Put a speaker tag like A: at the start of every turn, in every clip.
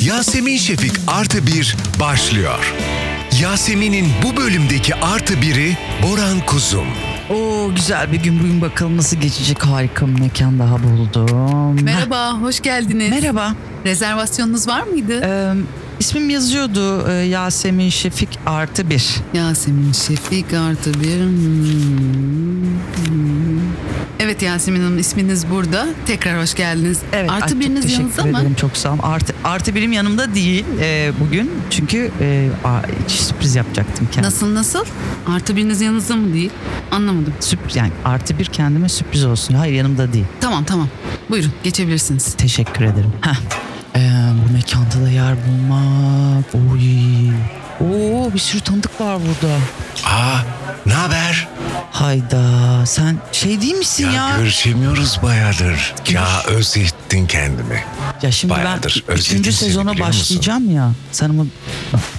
A: Yasemin Şefik Artı Bir başlıyor. Yasemin'in bu bölümdeki artı biri Boran Kuzum.
B: Oo güzel bir gün bugün bakalım nasıl geçecek harika bir mekan daha buldum. Heh,
C: Merhaba, hoş geldiniz.
B: Merhaba.
C: Rezervasyonunuz var mıydı?
B: Ee, ismim yazıyordu ee, Yasemin Şefik artı bir.
C: Yasemin Şefik artı bir. Hmm. Hmm. Evet Yasemin Hanım isminiz burada. Tekrar hoş geldiniz.
B: Evet, ay,
C: artı
B: çok
C: biriniz
B: teşekkür
C: yanınızda mı?
B: ederim, çok sağ olun. Artı, artı birim yanımda değil ee, bugün. Çünkü ee, aa, sürpriz yapacaktım kendime.
C: Nasıl nasıl? Artı biriniz yanınızda mı değil? Anlamadım.
B: Sürpriz, yani artı bir kendime sürpriz olsun. Hayır yanımda değil.
C: Tamam tamam. Buyurun geçebilirsiniz.
B: Teşekkür ederim. Heh. Ee, bu mekanda da yer bulmak. Oy. Oo bir sürü tanıdık var burada.
A: Aa, ne haber?
B: Hayda sen şey değil misin
A: Ya,
B: ya?
A: görüşemiyoruz bayağıdır. Ya özlettin kendimi.
B: Ya şimdi
A: Bayağıdır
B: ben
A: özledim
B: üçüncü
A: seni,
B: sezona
A: biliyor musun?
B: başlayacağım ya. Sen ama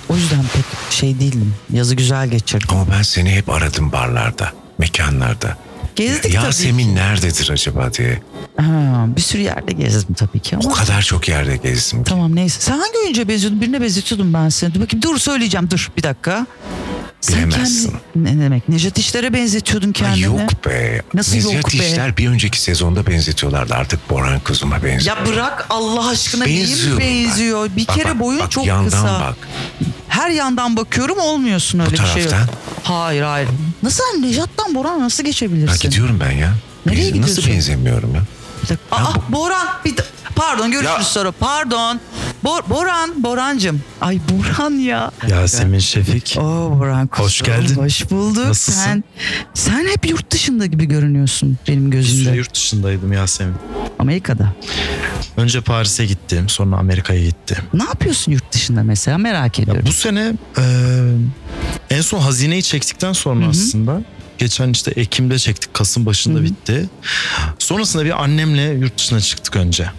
B: o yüzden pek şey değildim. Yazı güzel geçirdim.
A: Ama ben seni hep aradım barlarda, mekanlarda.
B: Gezdik
A: Yasemin nerededir acaba diye.
B: tabii. Ha, bir sürü yerde gezdim tabii ki
A: O
B: ama.
A: kadar çok yerde gezdim. ki.
B: Tamam neyse. Sen hangi oyuncuya benziyordun? Birine benzetiyordum ben seni. Dur bakayım dur söyleyeceğim dur bir dakika.
A: Bilemezsin.
B: kendini- ne demek? Nejat İşler'e benzetiyordun
A: Ay
B: kendini.
A: yok be.
B: Nasıl yok
A: Nezihat
B: be?
A: İşler bir önceki sezonda benzetiyorlardı. Artık Boran Kuzum'a benziyor.
B: Ya bırak Allah aşkına benziyor.
A: Benziyorum ben.
B: benziyor. Bir
A: Bak,
B: kere
A: bak,
B: boyun
A: bak,
B: çok
A: yandan
B: kısa.
A: Bak.
B: Her yandan bakıyorum olmuyorsun öyle bir şey yok.
A: taraftan?
B: Hayır hayır. Nasıl sen Nejat'tan Boran'a nasıl
A: Ya
B: geçebilirsin?
A: gidiyorum ben ya.
B: Nereye
A: Benzi- Nasıl
B: gidiyorsun?
A: benzemiyorum ya?
B: Bir dakika. Aa, Boran bir da- pardon görüşürüz
A: Ya-
B: sonra. Pardon. Bor- Boran, Borancım. Ay Boran ya.
D: Yasemin Şefik.
B: Oo Boran kuzum.
D: Hoş geldin.
B: Hoş bulduk.
D: Nasılsın?
B: Sen, sen hep yurt dışında gibi görünüyorsun benim
D: Bir süre
B: gözümde.
D: yurt dışındaydım Yasemin.
B: Amerika'da.
D: Önce Paris'e gittim sonra Amerika'ya gittim.
B: Ne yapıyorsun yurt dışında mesela merak ediyorum.
D: Ya bu sene e, en son hazineyi çektikten sonra aslında geçen işte Ekim'de çektik Kasım başında bitti. Sonrasında bir annemle yurt dışına çıktık önce.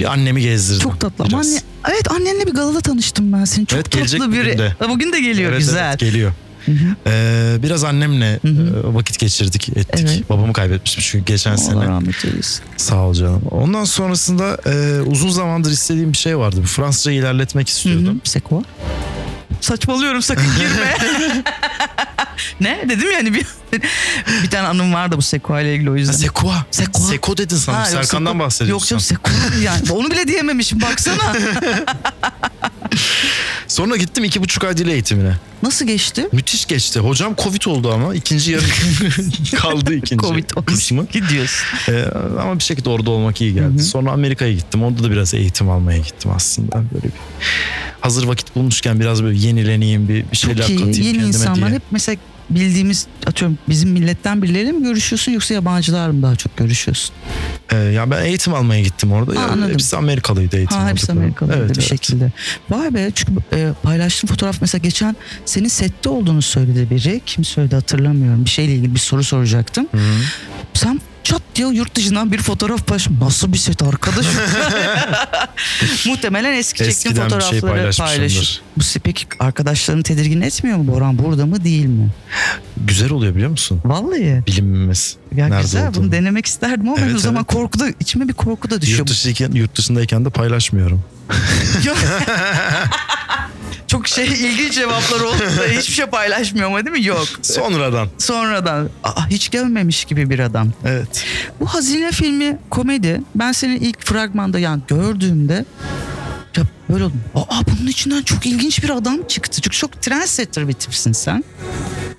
D: Bir annemi gezdirdim.
B: Ah. Çok tatlı ama
D: biraz.
B: anne, evet annenle bir galada tanıştım ben seni. Çok
D: Evet, gelecek
B: tatlı biri.
D: bugün de.
B: Ha, Bugün de geliyor
D: Evet,
B: güzel.
D: evet, geliyor. E, biraz annemle e, vakit geçirdik ettik.
B: Evet.
D: Babamı kaybetmiştim çünkü geçen sene.
B: Allah rahmet eylesin.
D: Sağ ol canım. Ondan sonrasında e, uzun zamandır istediğim bir şey vardı. Bu Fransızca ilerletmek istiyordum.
B: Seko. Saçmalıyorum sakın girme. ne dedim yani bir bir tane anım vardı bu Seko ile ilgili o yüzden.
D: Sekua.
B: Sekua.
D: Seko dedin sanırım.
B: Ha, yok,
D: Serkan'dan
B: Seko-
D: bahsediyorsun.
B: Yok canım Seko yani onu bile diyememişim baksana.
D: Sonra gittim iki buçuk ay dil eğitimine.
B: Nasıl geçti?
D: Müthiş geçti. Hocam Covid oldu ama ikinci yarı kaldı ikinci
B: Covid olmuş.
D: kısmı.
B: Gidiyorsun.
D: Ee, ama bir şekilde orada olmak iyi geldi. Sonra Amerika'ya gittim. Orada da biraz eğitim almaya gittim aslında. Böyle bir hazır vakit bulmuşken biraz böyle yenileneyim bir, bir şeyler
B: Çok
D: katayım
B: iyi. Yeni
D: kendime
B: insanlar
D: diye.
B: hep mesela bildiğimiz atıyorum bizim milletten birileriyle mi görüşüyorsun yoksa yabancılar mı daha çok görüşüyorsun?
D: Ee, ya ben eğitim almaya gittim orada.
B: Ha,
D: Ya,
B: anladım.
D: Hepsi Amerikalıydı eğitim.
B: Ha, hepsi
D: aldıkları.
B: Amerikalıydı
D: Evet,
B: bir
D: evet.
B: şekilde. Vay be çünkü e, paylaştığın fotoğraf mesela geçen senin sette olduğunu söyledi biri. Kim söyledi hatırlamıyorum. Bir şeyle ilgili bir soru soracaktım.
D: Hı.
B: Sen çat diye yurt dışından bir fotoğraf paylaş. Nasıl bir set arkadaş? Muhtemelen eski çektiğin
D: Eskiden bir
B: fotoğrafları
D: şey paylaşmışımdır.
B: paylaşır. Bu se- peki arkadaşlarını tedirgin etmiyor mu Boran? Burada mı değil mi?
D: Güzel oluyor biliyor musun?
B: Vallahi.
D: Bilinmemiz.
B: Ya
D: Nerede
B: güzel
D: olduğunu.
B: bunu denemek isterdim ama
D: Evet,
B: o zaman
D: evet.
B: korku da içime bir korku da düşüyor.
D: Yurt, dışındayken, yurt dışındayken de paylaşmıyorum.
B: Yok. Çok şey ilginç cevaplar oldu da hiçbir şey paylaşmıyor ama değil mi? Yok.
D: Sonradan.
B: Sonradan aa, hiç gelmemiş gibi bir adam.
D: Evet.
B: Bu hazine filmi komedi. Ben senin ilk fragmanda yani gördüğümde ya böyle oldum. Aa bunun içinden çok ilginç bir adam çıktı. Çünkü çok trendsetter bir tipsin sen.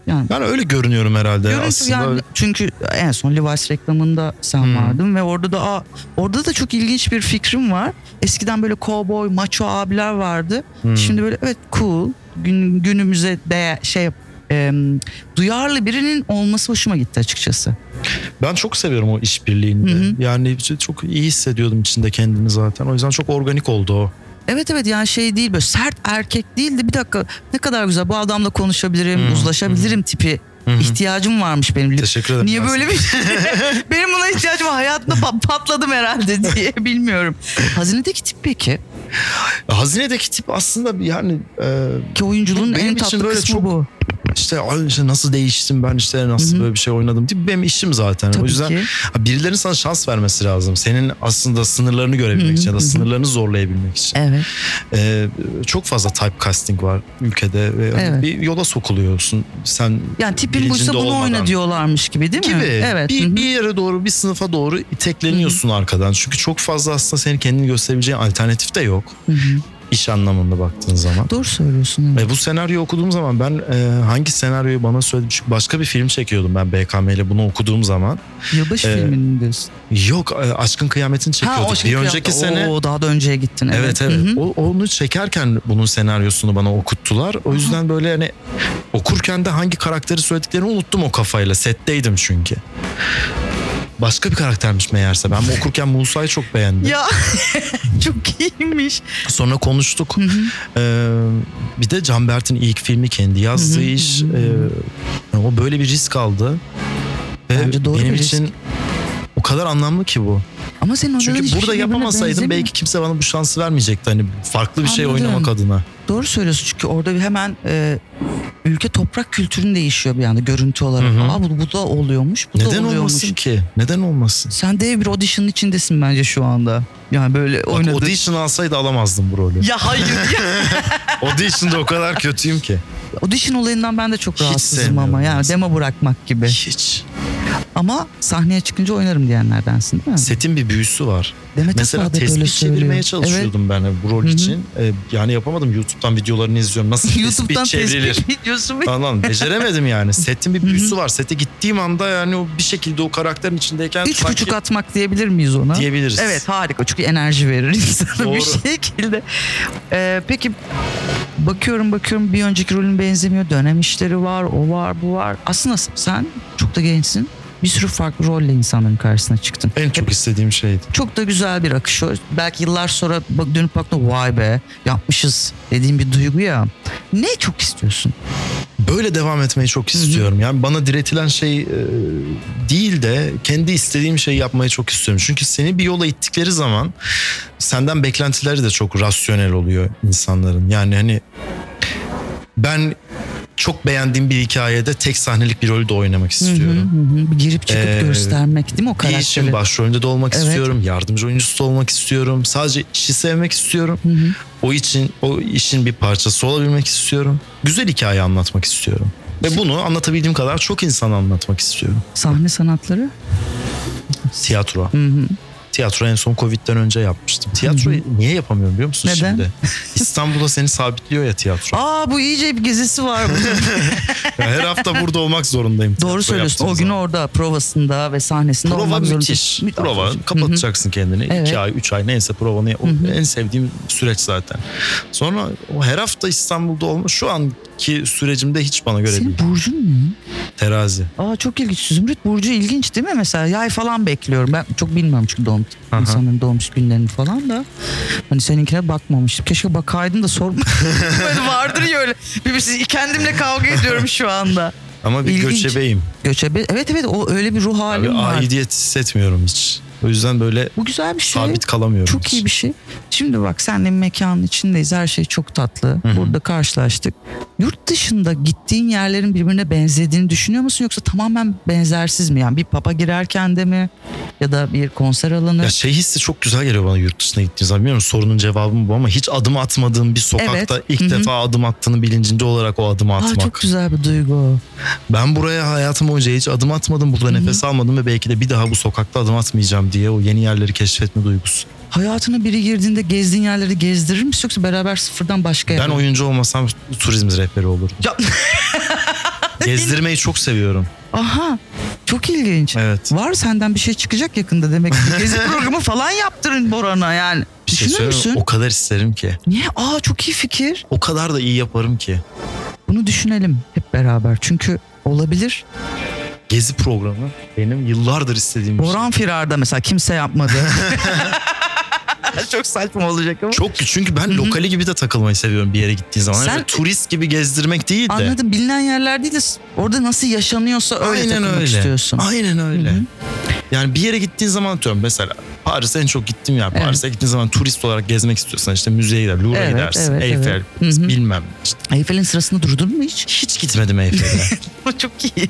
B: Yani
D: Ben öyle görünüyorum herhalde.
B: Görüntü
D: Aslında
B: yani çünkü en son Levi's reklamında sen vardın ve orada da aa, orada da çok ilginç bir fikrim var. Eskiden böyle cowboy, macho abiler vardı. Şimdi böyle evet cool gün, günümüze de şey em, duyarlı birinin olması hoşuma gitti açıkçası.
D: ben çok seviyorum o işbirliğini.
B: Hı hı.
D: Yani çok iyi hissediyordum içinde kendimi zaten. O yüzden çok organik oldu o.
B: Evet evet yani şey değil böyle sert erkek değil de bir dakika ne kadar güzel bu adamla konuşabilirim,
D: Hı hı,
B: uzlaşabilirim tipi ihtiyacım varmış benim.
D: Teşekkür ederim.
B: Niye
D: Ben
B: böyle bir şey? Benim buna ihtiyacım var. Hayatımda pa- patladım herhalde diye bilmiyorum. Hazinedeki tip peki?
D: Hazinedeki tip aslında yani e,
B: Ki oyunculuğun
D: Benim
B: en
D: için
B: tatlı
D: böyle
B: kısmı
D: çok-
B: bu.
D: işte, "Ay işte nasıl değiştim ben işte nasıl böyle bir şey oynadım diye benim işim zaten.
B: Tabii
D: o yüzden
B: ki.
D: ha, birilerinin sana şans vermesi lazım. Senin aslında sınırlarını görebilmek için ya da sınırlarını zorlayabilmek için.
B: Evet.
D: Ee, çok fazla typecasting var ülkede ve hani
B: Evet.
D: bir yola sokuluyorsun. Sen
B: Yani tipin
D: bilincinde
B: buysa bunu
D: olmadan.
B: oyna diyorlarmış gibi değil mi?
D: gibi
B: Evet.
D: bir,
B: hı hı.
D: bir yere doğru bir sınıfa doğru itekleniyorsun arkadan. Çünkü çok fazla aslında senin kendini gösterebileceğin alternatif de yok. İş anlamında baktığın zaman.
B: Doğru söylüyorsun. evet.
D: E, bu senaryoyu okuduğum zaman ben e, hangi senaryoyu bana söyledi? Çünkü başka bir film çekiyordum ben BKM ile bunu okuduğum zaman.
B: Yılbaşı
D: e,
B: filmini diyorsun.
D: Yok e, Aşkın Kıyametini çekiyorduk.
B: o
D: bir
B: şimdi
D: önceki
B: kıyafet-
D: sene
B: Oo, daha da önceye gittin.
D: Evet evet.
B: Hı hı.
D: O, onu çekerken bunun senaryosunu bana okuttular. O yüzden böyle hani okurken de hangi karakteri söylediklerini unuttum o kafayla. Setteydim çünkü. Başka bir karaktermiş meğerse. Ben bu okurken Musa'yı çok beğendim.
B: Ya çok iyiymiş.
D: Sonra konuştuk. Ee, bir de Can Bert'in ilk filmi kendi yazdığı iş. Ee, o böyle bir risk aldı. Ve
B: Bence doğru
D: benim
B: bir risk.
D: için o kadar anlamlı ki bu.
B: Ama senin oynadığın
D: Çünkü
B: hiçbir
D: burada
B: şey birbirine
D: yapamasaydım
B: benzemiyor.
D: belki kimse bana bu şansı vermeyecekti. Hani farklı bir şey
B: Anladım.
D: oynamak adına.
B: Doğru söylüyorsun çünkü orada bir hemen e, ülke toprak kültürün değişiyor bir anda görüntü olarak.
D: Hı hı.
B: Aa bu, bu da oluyormuş, bu da
D: Neden
B: oluyormuş.
D: olmasın ki? Neden olmasın?
B: Sen dev bir audition'ın içindesin bence şu anda. Yani böyle
D: Bak,
B: oynadığın...
D: audition alsaydı alamazdım bu rolü.
B: Ya hayır ya.
D: Audition'da o kadar kötüyüm ki.
B: audition olayından ben de çok
D: Hiç
B: rahatsızım
D: sevmiyorum
B: ama. Yani
D: aslında.
B: demo bırakmak gibi.
D: Hiç.
B: Ama sahneye çıkınca oynarım diyenlerdensin değil mi?
D: Setin bir büyüsü var.
B: Demet
D: Mesela
B: Akbağ da böyle
D: tespih
B: söylüyor.
D: çevirmeye çalışıyordum ben e, bu rol için. Ee, yani yapamadım. YouTube'dan videolarını izliyorum. Nasıl
B: Evet.
D: tespih
B: YouTube'dan
D: çevrilir?
B: tespih videosu mu?
D: Falan. Beceremedim yani. Setin bir büyüsü var. Sete gittiğim anda yani o bir şekilde o karakterin içindeyken
B: Üç
D: sanki
B: buçuk atmak diyebilir miyiz ona?
D: diyebiliriz.
B: Evet harika çünkü enerji verir insana
D: Doğru.
B: bir şekilde. Ee, peki bakıyorum bakıyorum bir önceki rolün benzemiyor. Dönem işleri var o var bu var. Aslında sen çok da gençsin. Bir sürü farklı rolle insanların karşısına çıktın.
D: En çok istediğim şeydi.
B: Çok da güzel bir akış. o. Belki yıllar sonra bak, dönüp baktığında vay be yapmışız dediğim bir duygu ya. Ne çok istiyorsun?
D: böyle devam etmeyi çok istiyorum. Yani bana diretilen şey e, değil de kendi istediğim şeyi yapmayı çok istiyorum. Çünkü seni bir yola ittikleri zaman senden beklentileri de çok rasyonel oluyor insanların. Yani hani ben çok beğendiğim bir hikayede tek sahnelik bir rolü de oynamak istiyorum.
B: Hı hı, bir girip çıkıp
D: Ee,
B: göstermek değil mi o
D: Bir işin
B: karakteri?
D: başrolünde de olmak
B: Evet.
D: istiyorum. Yardımcı oyuncusu da olmak istiyorum. Sadece işi sevmek istiyorum. O için o işin bir parçası olabilmek istiyorum. Güzel hikaye anlatmak istiyorum. Ve bunu anlatabildiğim kadar çok insana anlatmak istiyorum.
B: Sahne sanatları?
D: Tiyatro. Tiyatro en son Covid'den önce yapmıştım. Tiyatroyu niye yapamıyorum biliyor musun
B: Neden?
D: şimdi? İstanbul'da seni sabitliyor ya tiyatro.
B: Aa bu iyice bir gezisi var. bunun.
D: Her hafta burada olmak zorundayım. tiyatro
B: Doğru söylüyorsun.
D: yaptığım
B: O gün
D: zaman.
B: orada provasında ve sahnesinde
D: Prova
B: olmak
D: müthiş.
B: zorundasın.
D: Prova kapatacaksın kendini.
B: Evet.
D: İki ay, üç ay neyse provanı. O en sevdiğim süreç zaten. Sonra o her hafta İstanbul'da olmuş. Şu anki sürecimde hiç bana göre
B: Senin
D: değil.
B: burcun ne?
D: Terazi.
B: Aa çok ilginç. Zümrüt burcu ilginç değil mi mesela? Yay falan bekliyorum. Ben çok bilmiyorum çünkü doğum
D: Aha.
B: insanların doğum günlerini falan da. Hani seninkine bakmamıştım. Keşke bakaydın da sorma. Böyle vardır ya öyle. Birbirsiz kendimle kavga ediyorum şu anda.
D: Ama bir
B: İlginç.
D: göçebeyim.
B: Göçebe. Evet evet o öyle bir ruh
D: Abi,
B: halim var.
D: aidiyet hissetmiyorum hiç. O yüzden böyle
B: Bu güzel bir şey.
D: sabit kalamıyorum.
B: Çok
D: hiç.
B: iyi bir şey. Şimdi bak senle mekanın içindeyiz. Her şey çok tatlı. Burada karşılaştık. Yurt dışında gittiğin yerlerin birbirine benzediğini düşünüyor musun yoksa tamamen benzersiz mi? Yani bir papa girerken de mi ya da bir konser alanı?
D: Ya şey hissi çok güzel geliyor bana yurt dışına gittiğim zaman. Bilmiyorum sorunun cevabı mı bu ama hiç adım atmadığın bir sokakta
B: Evet.
D: ilk defa adım attığını bilincinde olarak o adımı
B: Aa,
D: atmak.
B: çok güzel bir duygu.
D: Ben buraya hayatım boyunca hiç adım atmadım. Burada nefes almadım ve belki de bir daha bu sokakta adım atmayacağım diye o yeni yerleri keşfetme duygusu.
B: Hayatına biri girdiğinde gezdiğin yerleri gezdirir misin yoksa beraber sıfırdan başka yere?
D: Ben oyuncu olmasam turizm rehberi olurdum.
B: Ya-
D: Gezdirmeyi çok seviyorum.
B: Aha çok ilginç.
D: Evet.
B: Var senden bir şey çıkacak yakında demek ki. Gezi programı falan yaptırın Boran'a yani.
D: Bir şey
B: Düşünür
D: söyleyeyim mi?
B: müsün?
D: O kadar isterim ki.
B: Niye? Aa çok iyi fikir.
D: O kadar da iyi yaparım ki.
B: Bunu düşünelim hep beraber. Çünkü olabilir.
D: Gezi programı benim yıllardır istediğim bir şey.
B: Boran firarda mesela kimse yapmadı. Çok saçma olacak ama.
D: Çok çünkü ben lokali gibi de takılmayı seviyorum bir yere gittiğin zaman.
B: Sen-
D: Öyle turist gibi gezdirmek değil de.
B: Anladım bilinen yerler değil de orada nasıl yaşanıyorsa öyle takılmak istiyorsun.
D: Aynen öyle. Yani bir yere gittiğin zaman diyorum mesela Paris'e en çok gittim ya. Paris'e gittiğin zaman turist olarak gezmek istiyorsan işte müzeye gider, Louvre'a
B: Evet,
D: gidersin,
B: evet,
D: Eiffel,
B: evet. Hı hı.
D: bilmem. işte.
B: Eyfel'in sırasında durdun mu hiç?
D: Hiç gitmedim Eyfel'e.
B: Çok iyi.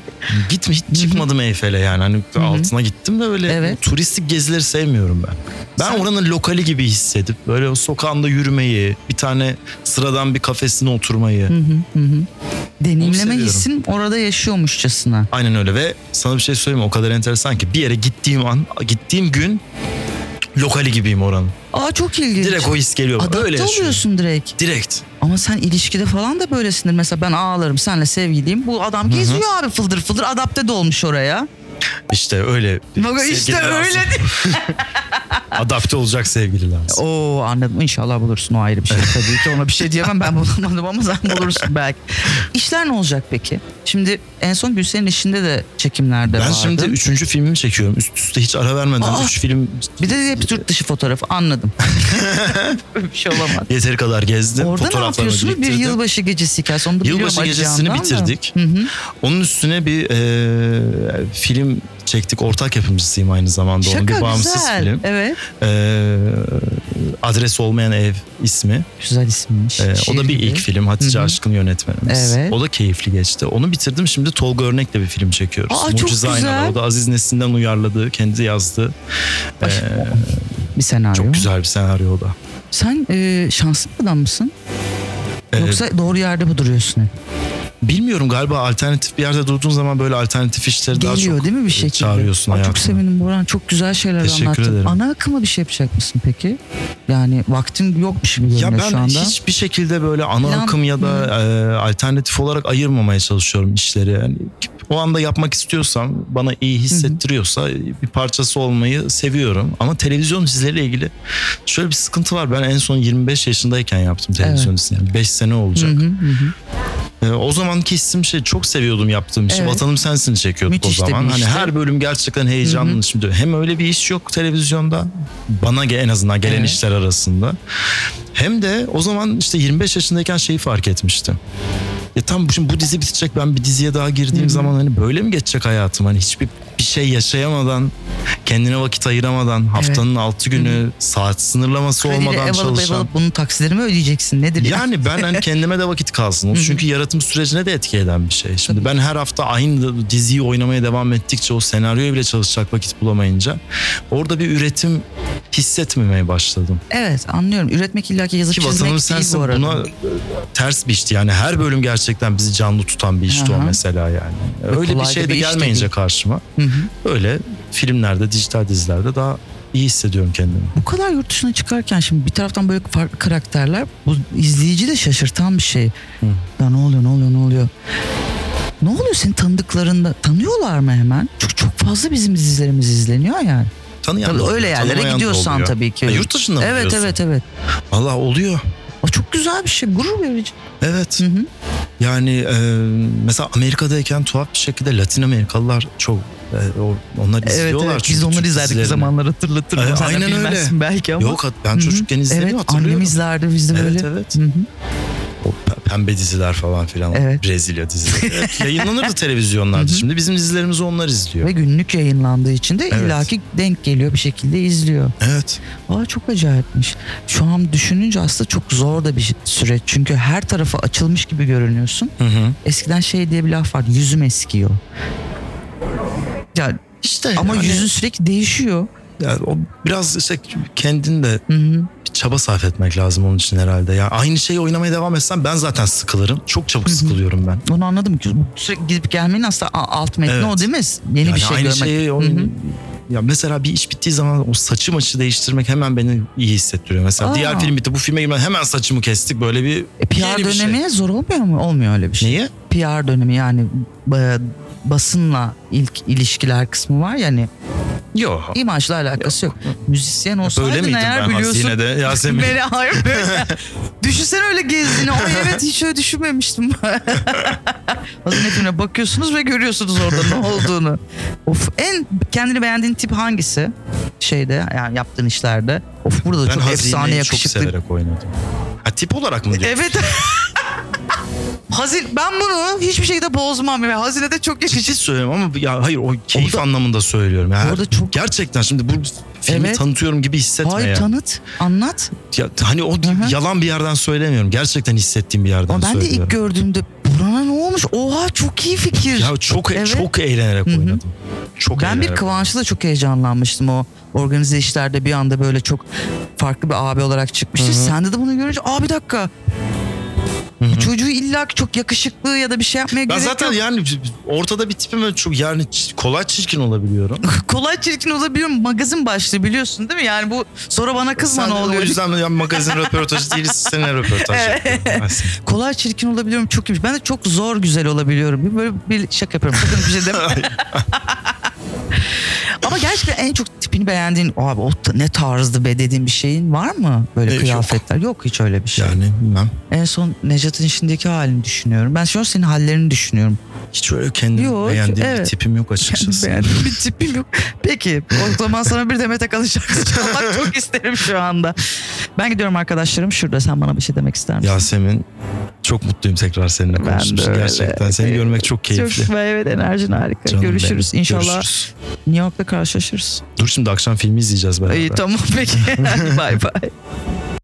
D: Gitme hiç çıkmadım Eyfel'e yani. Hani altına gittim de öyle
B: Evet.
D: turistik gezileri sevmiyorum ben. Ben
B: Sen-
D: oranın lokali gibi hissedip böyle o sokağında yürümeyi, bir tane sıradan bir kafesine oturmayı.
B: Deneyimleme
D: seviyorum.
B: hissin orada yaşıyormuşçasına.
D: Aynen öyle ve sana bir şey söyleyeyim mi? o kadar enteresan ki bir yere gittiğim an, gittiğim gün lokali gibiyim oranın.
B: Aa çok ilginç.
D: Direkt o his geliyor.
B: Adapte
D: öyle yaşıyorum.
B: oluyorsun direkt.
D: Direkt.
B: Ama sen ilişkide falan da böylesindir. Mesela ben ağlarım senle sevgiliyim. Bu adam geziyor abi fıldır fıldır adapte de olmuş oraya.
D: İşte öyle.
B: Bak işte
D: Sevgililer
B: öyle
D: lazım.
B: değil.
D: Adapte olacak sevgililer. lazım.
B: Oo anladım. İnşallah bulursun o ayrı bir şey tabii ki. Ona bir şey diyemem ben bulamadım ama sen bulursun belki. İşler ne olacak peki? Şimdi en son Gülsen'in işinde de çekimlerde
D: Ben
B: vardı.
D: şimdi üçüncü filmimi çekiyorum. Üst üste hiç ara vermeden
B: Aa!
D: üç film
B: Bir de hep yurt dışı fotoğrafı anladım. Böyle bir şey olamaz.
D: Yeteri kadar gezdim.
B: Orada ne
D: Fotoğraflarımı
B: yapıyorsunuz? Bir
D: biriktirdim.
B: yılbaşı gecesi hikayesi. Onu da biliyorum
D: Yılbaşı
B: acı
D: gecesini
B: yandan da.
D: bitirdik.
B: Hı hı.
D: Onun üstüne bir e, film çektik. Ortak yapımcısıyım aynı zamanda. Onun bir
B: Şaka
D: bağımsız
B: güzel.
D: film.
B: Evet.
D: E, adres olmayan ev ismi.
B: Güzel isimmiş.
D: E, o
B: Şiir
D: da bir
B: Şey gibi.
D: ilk film. Hatice
B: Hı hı.
D: Aşkın yönetmenimiz.
B: Evet.
D: O da keyifli geçti. Onu bitirdim. Şimdi Tolga Örnek'le bir film çekiyoruz.
B: Aa, çok
D: Mucize Aynalar.
B: güzel.
D: O da Aziz Nesin'den uyarladığı, kendi yazdığı. e,
B: Ay, bir senaryo.
D: çok güzel bir senaryo o da.
B: Sen e, şanslı bir adam mısın?
D: E,
B: Yoksa doğru yerde mi duruyorsun? hep?
D: Bilmiyorum galiba alternatif bir yerde durduğun zaman böyle alternatif işleri daha
B: Geliyor
D: çok
B: değil mi bir
D: e,
B: şekilde?
D: çağırıyorsun
B: Aa,
D: hayatına.
B: Çok sevindim Burhan. Çok güzel şeyler
D: Teşekkür
B: anlattın.
D: ederim.
B: Ana akıma bir şey yapacak mısın peki? Yani vaktin yokmuş gibi
D: Ya
B: görünüyor
D: ben
B: şu anda.
D: hiçbir şekilde böyle ana
B: Plan-
D: akım ya da e, alternatif olarak ayırmamaya çalışıyorum işleri. Yani o anda yapmak istiyorsam bana iyi hissettiriyorsa bir parçası olmayı seviyorum. Ama televizyon dizileriyle ilgili şöyle bir sıkıntı var. Ben en son 25 yaşındayken yaptım televizyon dizisini. 5 sene olacak.
B: Hı hı hı.
D: E, o zamanki hissim şey çok seviyordum yaptığım işi.
B: Evet.
D: Vatanım sensin çekiyorduk
B: Müthiş de
D: o
B: bir
D: zaman. Hani
B: işti.
D: her bölüm gerçekten heyecanlı. Şimdi hem öyle bir iş yok televizyonda. Bana ge- en azından gelen
B: Evet.
D: işler arasında. Hem de o zaman işte 25 yaşındayken şeyi fark etmiştim. Ya tam bu- şimdi bu dizi bitecek ben bir diziye daha girdiğim zaman hani böyle mi geçecek hayatım? Hani hiçbir bir şey yaşayamadan, kendine vakit ayıramadan, haftanın altı günü saat sınırlaması
B: Krediyle
D: olmadan
B: ev alıp ev
D: çalışan.
B: alıp bunun taksilerimi ödeyeceksin. Nedir ya?
D: Yani ben hani kendime de vakit kalsın. O çünkü yaratım sürecine de etki eden bir şey. Şimdi ben her hafta aynı diziyi oynamaya devam ettikçe o senaryoya bile çalışacak vakit bulamayınca orada bir üretim hissetmemeye başladım.
B: Evet anlıyorum. Üretmek illaki yazıp
D: Ki
B: çizmek
D: vatanım
B: değil
D: sensin
B: bu arada.
D: buna e, ters bir işti. Yani her bölüm gerçekten bizi canlı tutan bir işti
B: Hı
D: o
B: hı.
D: mesela yani.
B: Ve
D: Öyle bir
B: kolay da
D: şey
B: bir
D: de
B: iş de
D: gelmeyince
B: değil.
D: karşıma.
B: Hı hı.
D: Öyle filmlerde, dijital dizilerde daha iyi hissediyorum kendimi.
B: Bu kadar yurt dışına çıkarken şimdi bir taraftan böyle farklı karakterler bu izleyici de şaşırtan bir şey. Ya ne oluyor ne oluyor ne oluyor. Ne oluyor senin tanıdıklarında tanıyorlar mı hemen? Çok çok fazla bizim dizilerimiz izleniyor yani.
D: Tanıyan
B: Tabii
D: da
B: öyle
D: oluyor,
B: yerlere
D: tanımayan da
B: gidiyorsan
D: oluyor.
B: tabii ki.
D: Ha, yurt dışında mı
B: Evet
D: gidiyorsun?
B: evet evet.
D: Allah oluyor.
B: O çok güzel bir şey. Gurur verici.
D: Evet.
B: Hı hı.
D: Yani e, mesela Amerika'dayken tuhaf bir şekilde Latin Amerikalılar çok e, o- onlar
B: Evet,
D: izliyorlar
B: evet.
D: çünkü
B: Biz onları
D: Türk
B: izlerdik bir
D: dizilerini.
B: zamanlar hatırlatır.
D: Ay-
B: Sen de
D: aynen öyle.
B: bilmezsin belki ama.
D: Yok ben
B: Hı hı.
D: çocukken izledim
B: Evet
D: hatırlıyorum.
B: annem izlerdi biz de böyle.
D: Evet evet.
B: Hı hı.
D: O pe- pembe diziler falan filan.
B: Evet.
D: Brezilya dizileri. Evet, Yayınlanırdı televizyonlarda. Şimdi bizim dizilerimizi onlar izliyor.
B: Ve günlük yayınlandığı için de
D: Evet.
B: illaki denk geliyor bir şekilde izliyor.
D: Evet.
B: Aa çok acayipmiş. Şu an düşününce aslında çok zor da bir süreç. Çünkü her tarafa açılmış gibi görünüyorsun.
D: Hı hı.
B: Eskiden şey diye bir laf vardı. Yüzüm eskiyor. Ya
D: İşte
B: ama
D: yani-
B: yüzün sürekli değişiyor.
D: yani o biraz işte kendin de
B: Hı hı.
D: bir çaba sarf etmek lazım onun için herhalde. Ya aynı şeyi oynamaya devam etsem ben zaten sıkılırım. Çok çabuk sıkılıyorum ben.
B: Onu anladım. ki Sürekli gidip gelmenin aslında a- alt metni
D: Evet.
B: o değil mi? Yeni
D: Yani
B: bir şey
D: aynı
B: görmek.
D: şeyi o-
B: Hı hı.
D: ya mesela bir iş bittiği zaman o saçı maçı değiştirmek hemen beni iyi hissettiriyor. Mesela
B: Aa.
D: diğer film bitti bu filme girmeden hemen saçımı kestik böyle bir
B: E, PR
D: yeni bir şey.
B: dönemi zor olmuyor mu? Olmuyor öyle bir şey.
D: Neyi?
B: PR dönemi yani e, basınla ilk ilişkiler kısmı var hani yani
D: Yok.
B: imajla alakası yok. Müzisyen
D: Böyle
B: olsaydın
D: miydim
B: eğer
D: ben
B: biliyorsun
D: hazinede Yasemin?
B: Beni hayır böyle. Düşünsene öyle gezdiğini. Ay evet hiç öyle düşünmemiştim. Hazinetimle bakıyorsunuz ve görüyorsunuz orada ne olduğunu. Of en kendini beğendiğin tip hangisi? Şeyde yani yaptığın işlerde. Of burada da
D: Ben
B: çok efsane
D: hazineyi çok
B: yakışıklı.
D: E, severek oynadım. Ha, tip olarak mı diyorsun?
B: evet. Hazin ben bunu hiçbir şekilde bozmam ya. Hazinede çok
D: Ciddi
B: yakışır.
D: söylüyorum şey ama ya hayır o keyif
B: Orada-
D: anlamında söylüyorum. Yani
B: Orada çok-
D: gerçekten şimdi bu filmi
B: Evet.
D: tanıtıyorum gibi hissetme
B: Hayır
D: ya.
B: tanıt, anlat.
D: Ya hani o
B: hı.
D: yalan bir yerden söylemiyorum. Gerçekten hissettiğim bir yerden
B: Ama ben de
D: söylüyorum.
B: ilk gördüğümde Burhan'a ne olmuş? Oha çok iyi fikir.
D: ya çok
B: Evet.
D: çok eğlenerek
B: Hı hı.
D: oynadım. Çok
B: Ben bir
D: eğlenerek.
B: Kıvanç'la çok heyecanlanmıştım o organize işlerde bir anda böyle çok farklı bir abi olarak çıkmıştı. Sende de bunu görünce aa bir dakika bu çocuğu illa ki çok yakışıklı ya da bir şey yapmaya
D: ben
B: gerek
D: zaten
B: yok.
D: yani ortada bir tipim ve çok yani ç- kolay çirkin olabiliyorum.
B: Kolay çirkin olabiliyorum magazin başlığı biliyorsun değil mi? Yani bu sonra bana kızma
D: Sen
B: ne
D: de
B: oluyor.
D: O yüzden ya magazin röportajı değiliz seninle röportaj yapıyorum. aslında.
B: Kolay çirkin olabiliyorum çok iyiymiş. Ben de çok zor güzel olabiliyorum. Böyle bir şaka yapıyorum. Sakın bir şey deme. Ama gerçekten en çok tipini beğendiğin abi o da ne tarzdı be dediğin bir şeyin var mı? Böyle
D: E, yok.
B: kıyafetler. Yok. hiç öyle bir şey.
D: Yani bilmem.
B: En son Necat'ın işindeki halini düşünüyorum. Ben şu an senin hallerini düşünüyorum.
D: Hiç öyle kendimi
B: Yok,
D: beğendiğim bir
B: evet.
D: tipim yok açıkçası.
B: Beğendiğim bir tipim yok. Peki o zaman sana bir Demet Akalın şarkısı çalmak çok isterim şu anda. Ben gidiyorum arkadaşlarım şurada sen bana bir şey demek ister misin?
D: Yasemin çok mutluyum tekrar seninle
B: de
D: konuştuğumuz.
B: öyle.
D: Gerçekten seni görmek çok keyifli.
B: Çok evet enerjin harika.
D: Canım benim.
B: görüşürüz inşallah.
D: Görüşürüz.
B: New York'ta karşılaşırız.
D: Dur şimdi akşam filmi izleyeceğiz beraber.
B: İyi tamam peki. Bay bay.